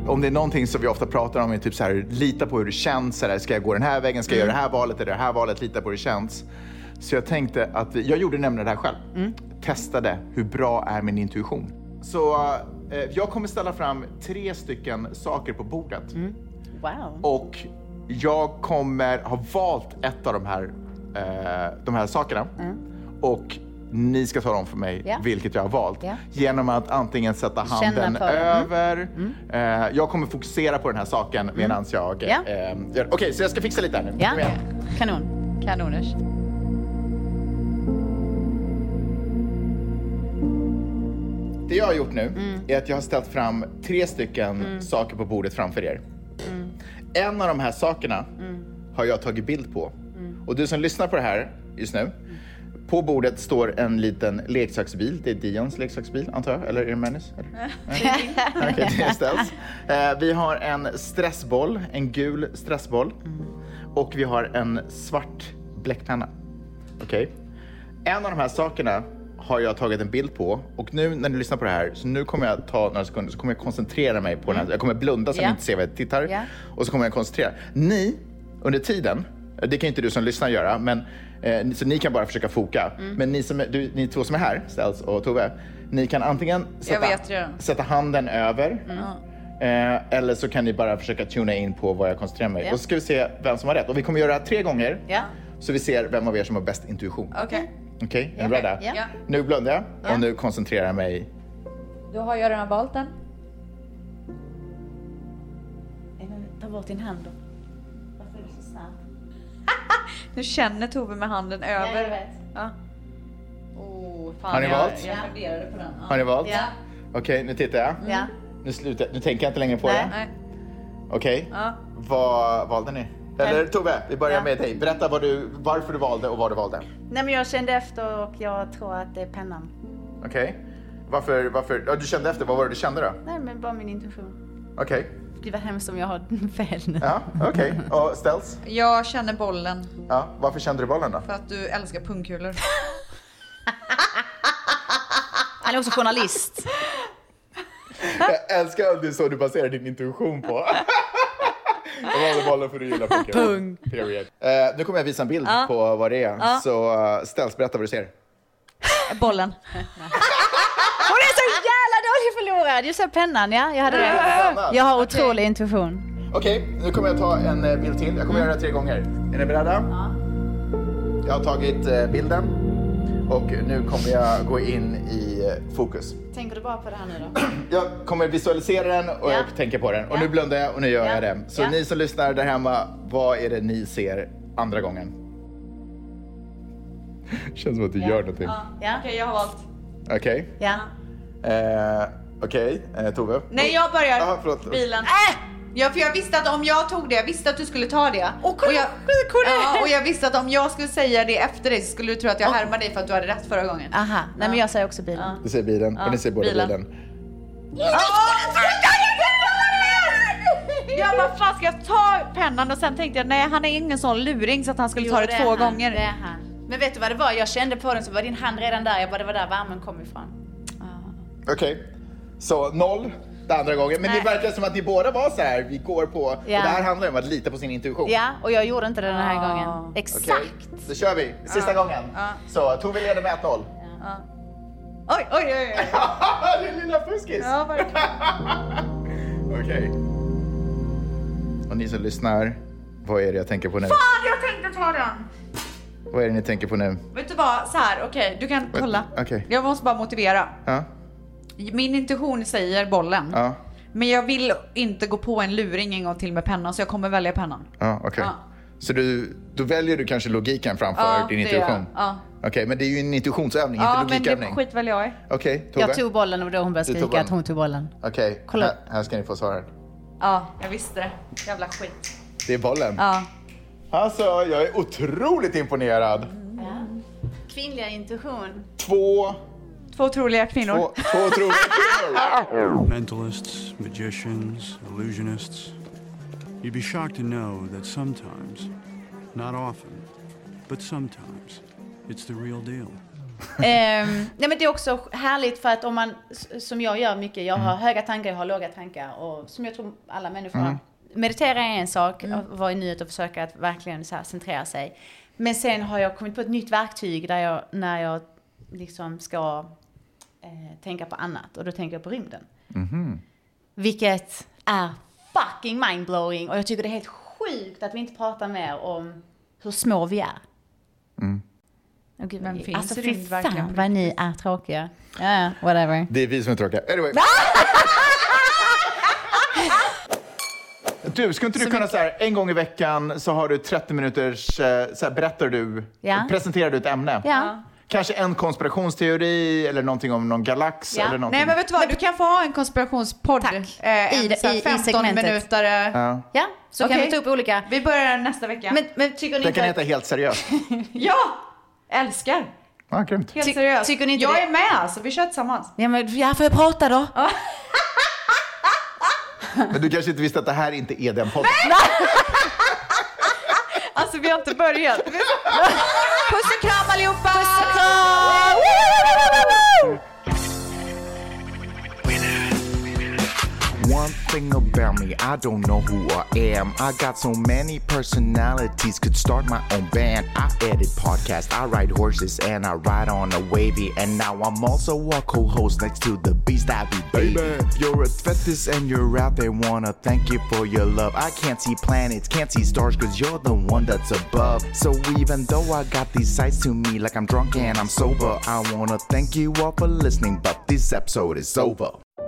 S2: Om om det är någonting som vi ofta pratar om är typ så här, lita på hur det känns. Så där, ska jag gå den här vägen? Ska jag göra det här valet? Eller det här valet? Lita på hur det känns. Så jag tänkte att, jag gjorde nämligen det här själv. Testade, hur bra är min intuition? Så eh, jag kommer ställa fram tre stycken saker på bordet.
S3: Wow.
S2: Och jag kommer ha valt ett av de här, eh, de här sakerna. Och ni ska tala om för mig
S3: Mm. Ja.
S2: vilket jag har valt.
S3: Ja.
S2: Genom att antingen sätta
S3: Känna
S2: handen
S3: för. Mm. Mm.
S2: över. Eh, jag kommer fokusera på den här saken medan jag...
S3: Ja.
S2: eh, gör- Okej, så jag ska fixa lite här nu.
S1: Ja.
S2: Kom igen.
S1: Kanon. Kanoners.
S2: Det jag har gjort nu
S3: Mm.
S2: är att jag har ställt fram tre stycken saker på bordet framför er. En av de här sakerna har jag tagit bild på. Och du som lyssnar på det här just nu. På bordet står en liten leksaksbil. Det är Dions leksaksbil antar jag, eller är det Mannys? Eller? Okej, det ställs. Eh, vi har en stressboll, en gul stressboll. Och vi har en svart bläckpenna. Okej. En av de här sakerna har jag tagit en bild på och nu när ni lyssnar på det här, så nu kommer jag ta några sekunder så kommer jag koncentrera mig på den här. Jag kommer blunda så
S3: Ja.
S2: ni inte ser vad jag tittar
S3: Ja.
S2: och så kommer jag koncentrera. Ni, under tiden, det kan ju inte du som lyssnar göra, men, eh, ni- så ni kan bara försöka foka.
S1: Mm.
S2: Men ni, som, är- du, ni två som är här, Stels och Tove, ni kan antingen sätta,
S1: vet redan. Mm.
S2: sätta handen över
S1: Ja.
S2: Eh, eller så kan ni bara försöka tuna in på vad jag koncentrerar mig.
S1: Ja.
S2: Och så ska vi se vem som har rätt. Och vi kommer göra det här tre gånger.
S1: Ja.
S2: Så vi ser vem av er som har bäst intuition.
S1: Okej.
S2: Okej, är ni beredda?
S1: Ja.
S2: Nu blundar jag och nu koncentrerar jag mig.
S1: Då har jag redan valt den. Eh,
S3: Nej, men Ta bort din hand då. Varför är du så snabb?
S1: Nu känner Tove med handen över.
S3: Ja, jag vet.
S1: Ja. Oh, fan,
S2: Har ni
S1: jag,
S2: valt?
S1: Jag funderade på den. Ja.
S2: Har ni valt?
S1: Ja.
S2: Okej, nu tittar jag.
S1: Ja.
S2: Nu, slutar, nu tänker jag inte längre på
S1: Nej.
S2: det.
S1: Nej.
S2: Okej,
S1: Ja.
S2: vad valde ni? Eller Tove, vi börjar med dig. Berätta vad du, varför du valde och vad du valde.
S3: Nej men jag kände efter och jag tror att det är pennan.
S2: Okej, varför, varför, ja, du kände efter, vad var det du kände då?
S3: Nej men bara min intuition.
S2: Okej,
S3: Gud vad hemskt om jag har fel nu.
S2: ja, okej. Och Stels,
S1: Jag känner bollen
S2: ja, varför kände du bollen då?
S1: för att du älskar pungkulor.
S3: Han är också journalist.
S2: Jag älskar att det är så du baserar din intuition på. Jag valde bollen för att du gillar poker.
S3: Pung.
S2: Period. Eh, nu kommer jag visa en bild
S1: Ja.
S2: på vad det är.
S1: Ja.
S2: Så uh, Stels, berätta vad du ser.
S1: bollen.
S3: Hon är så jävla dålig förlorad! Jag sa pennan ja, jag hade
S2: Ja.
S3: det. Jag har otrolig intuition.
S2: Okej, nu kommer jag ta en eh, bild till. Jag
S1: Mm.
S2: kommer göra det tre gånger. Är ni beredda? Ja. Jag har tagit eh, bilden och nu kommer jag gå in i eh, fokus.
S3: Tänker du bara på det här nu då?
S2: Jag kommer visualisera den och
S3: Ja.
S2: jag tänker på den. Och nu blundar jag och nu gör
S3: Ja.
S2: jag det. Så
S3: Ja.
S2: ni som lyssnar där hemma, vad är det ni ser andra gången? Känns som att du gör någonting.
S1: Ja. Okej, jag har valt.
S2: Okej.
S1: Ja.
S2: Eh, Okej, eh, Tove.
S1: Nej, jag börjar.
S2: Ja, Ah, förlåt.
S1: Bilen. Äh! Ja, för jag visste att om jag tog det, jag visste att du skulle ta det. Och, jag, ja, och jag visste att om jag skulle säga det efter dig så skulle du tro att jag härmar dig för att du hade rätt förra gången.
S3: Aha, nej men jag säger också bilen.
S2: Du ser bilen
S1: Ja,
S2: och ni ser båda
S1: bilen.
S2: bilen.
S1: Jag bara, fan ska jag ta pennan? Och sen tänkte jag, nej han är ingen sån luring så att han skulle
S3: Jo,
S1: ta det,
S3: är
S1: två
S3: han,
S1: gånger.
S3: Det är han. Men vet du vad det var? Jag kände på den så var din hand redan där. Jag bara, det var där värmen kom ifrån.
S2: Okej, så noll den andra gången. Men
S3: Nej.
S2: det verkar som att ni båda var så här, vi går på... Och det
S3: Ja.
S2: här handlar om att lita på sin intuition.
S3: Ja, och jag gjorde inte det den här gången.
S2: Okej,
S3: Exakt.
S2: då kör vi. Sista gången. Så Tove leder med 1-0.
S1: Oj, oj, oj. oj.
S2: Din lilla fuskis.
S1: Ja, verkligen.
S2: Okej. Och ni som lyssnar, vad är det jag tänker på nu?
S1: Fan, jag tänkte ta den.
S2: Vad är det ni tänker på nu?
S1: Vet du vad, så här, okej, du kan kolla.
S2: Okej.
S1: Jag måste bara motivera.
S2: Ja.
S1: Min intuition säger bollen.
S2: Ja.
S1: Men jag vill inte gå på en luring en gång till med pennan så jag kommer välja pennan.
S2: Ja, okej.
S1: Ja.
S2: Så du, då väljer du kanske logiken framför
S1: Ja,
S2: din
S1: det gör jag.
S2: intuition?
S1: Ja.
S2: Okej, men det är ju en intuitionsövning,
S1: Ja,
S2: inte
S1: men
S2: logikövning.
S1: det skit väl jag i.
S2: Okej, Tove.
S3: Jag tog bollen och då hon
S2: Du
S3: började
S2: tog
S3: skrika
S2: bollen.
S3: att hon tog bollen.
S2: Okej,
S3: Kolla.
S2: här, här ska ni få svaret.
S1: Ja, jag visste det. Jävla skit.
S2: Det är bollen.
S1: Ja.
S2: Alltså, jag är otroligt imponerad.
S3: Kvinnliga intuition.
S2: Två,
S1: Två otroliga kvinnor.
S2: två, två otroliga kvinnor.
S16: Mentalists, magicians, illusionists. You'd be shocked to know that sometimes, not often, but sometimes, it's the real deal.
S3: Ehm, nej men det är också härligt för att om man, s- som jag gör mycket, jag har höga tankar, jag har låga tankar och som jag tror alla människor har.
S17: Mm.
S3: Meditera är en sak, att vara i nuet och försöka att verkligen så här centrera sig. Men sen har jag kommit på ett nytt verktyg där jag, när jag liksom ska eh, tänka på annat och då tänker jag på rymden.
S2: Mhm.
S3: Vilket är fucking mindblowing och jag tycker det är helt sjukt att vi inte pratar mer om hur små vi är.
S2: Mm.
S3: Åh, gud, vad
S1: Men
S3: ni-
S1: finns
S3: alltså
S1: det
S3: fy
S1: rymd verkligen
S3: fan
S1: på
S3: vad ni är tråkiga. Ja, ja, whatever.
S2: Det är vi som är tråkiga. Anyway. Du, skulle inte du kunna så här, en gång i veckan så har du 30 minuters, eh, så här, berättar du,
S3: Ja.
S2: presenterar du ett ämne.
S3: Ja.
S2: Kanske en konspirationsteori eller någonting om någon galax eller någonting.
S1: Nej men vet du vad, du kan få ha en konspirationspodd. Tack. Eh,
S3: I
S1: en
S3: det-
S1: så här
S3: i- i
S1: 15
S3: segmentet.
S1: minutare.
S2: Ja.
S3: Ja, så kan
S1: Okej.
S3: vi ta upp olika.
S1: Vi börjar nästa vecka.
S3: Men, men tycker ni
S2: Den kan
S3: inte...
S2: heta Helt seriöst.
S1: Ja! Älskar.
S2: Ja, grymt.
S1: Helt seriöst.
S3: tycker ni inte
S1: jag
S3: det-
S1: är med alltså, vi kör tillsammans.
S3: Ja, men, ja, får jag prata då?
S2: Men du kanske inte visste att det här inte är den podden.
S1: Alltså vi har inte börjat. Puss och kram allihopa! Puss och kram!
S12: One thing about me, I don't know who I am. I got so many personalities, could start my own band. I edit podcasts, I ride horses, and I ride on a wavy. And now I'm also a co host next to the beast I be, baby. You're a fetish and you're out there, wanna thank you for your love. I can't see planets, can't see stars, cause you're the one that's above. So even though I got these sights to me, like I'm drunk and I'm sober, I wanna thank you all for listening, but this episode is over.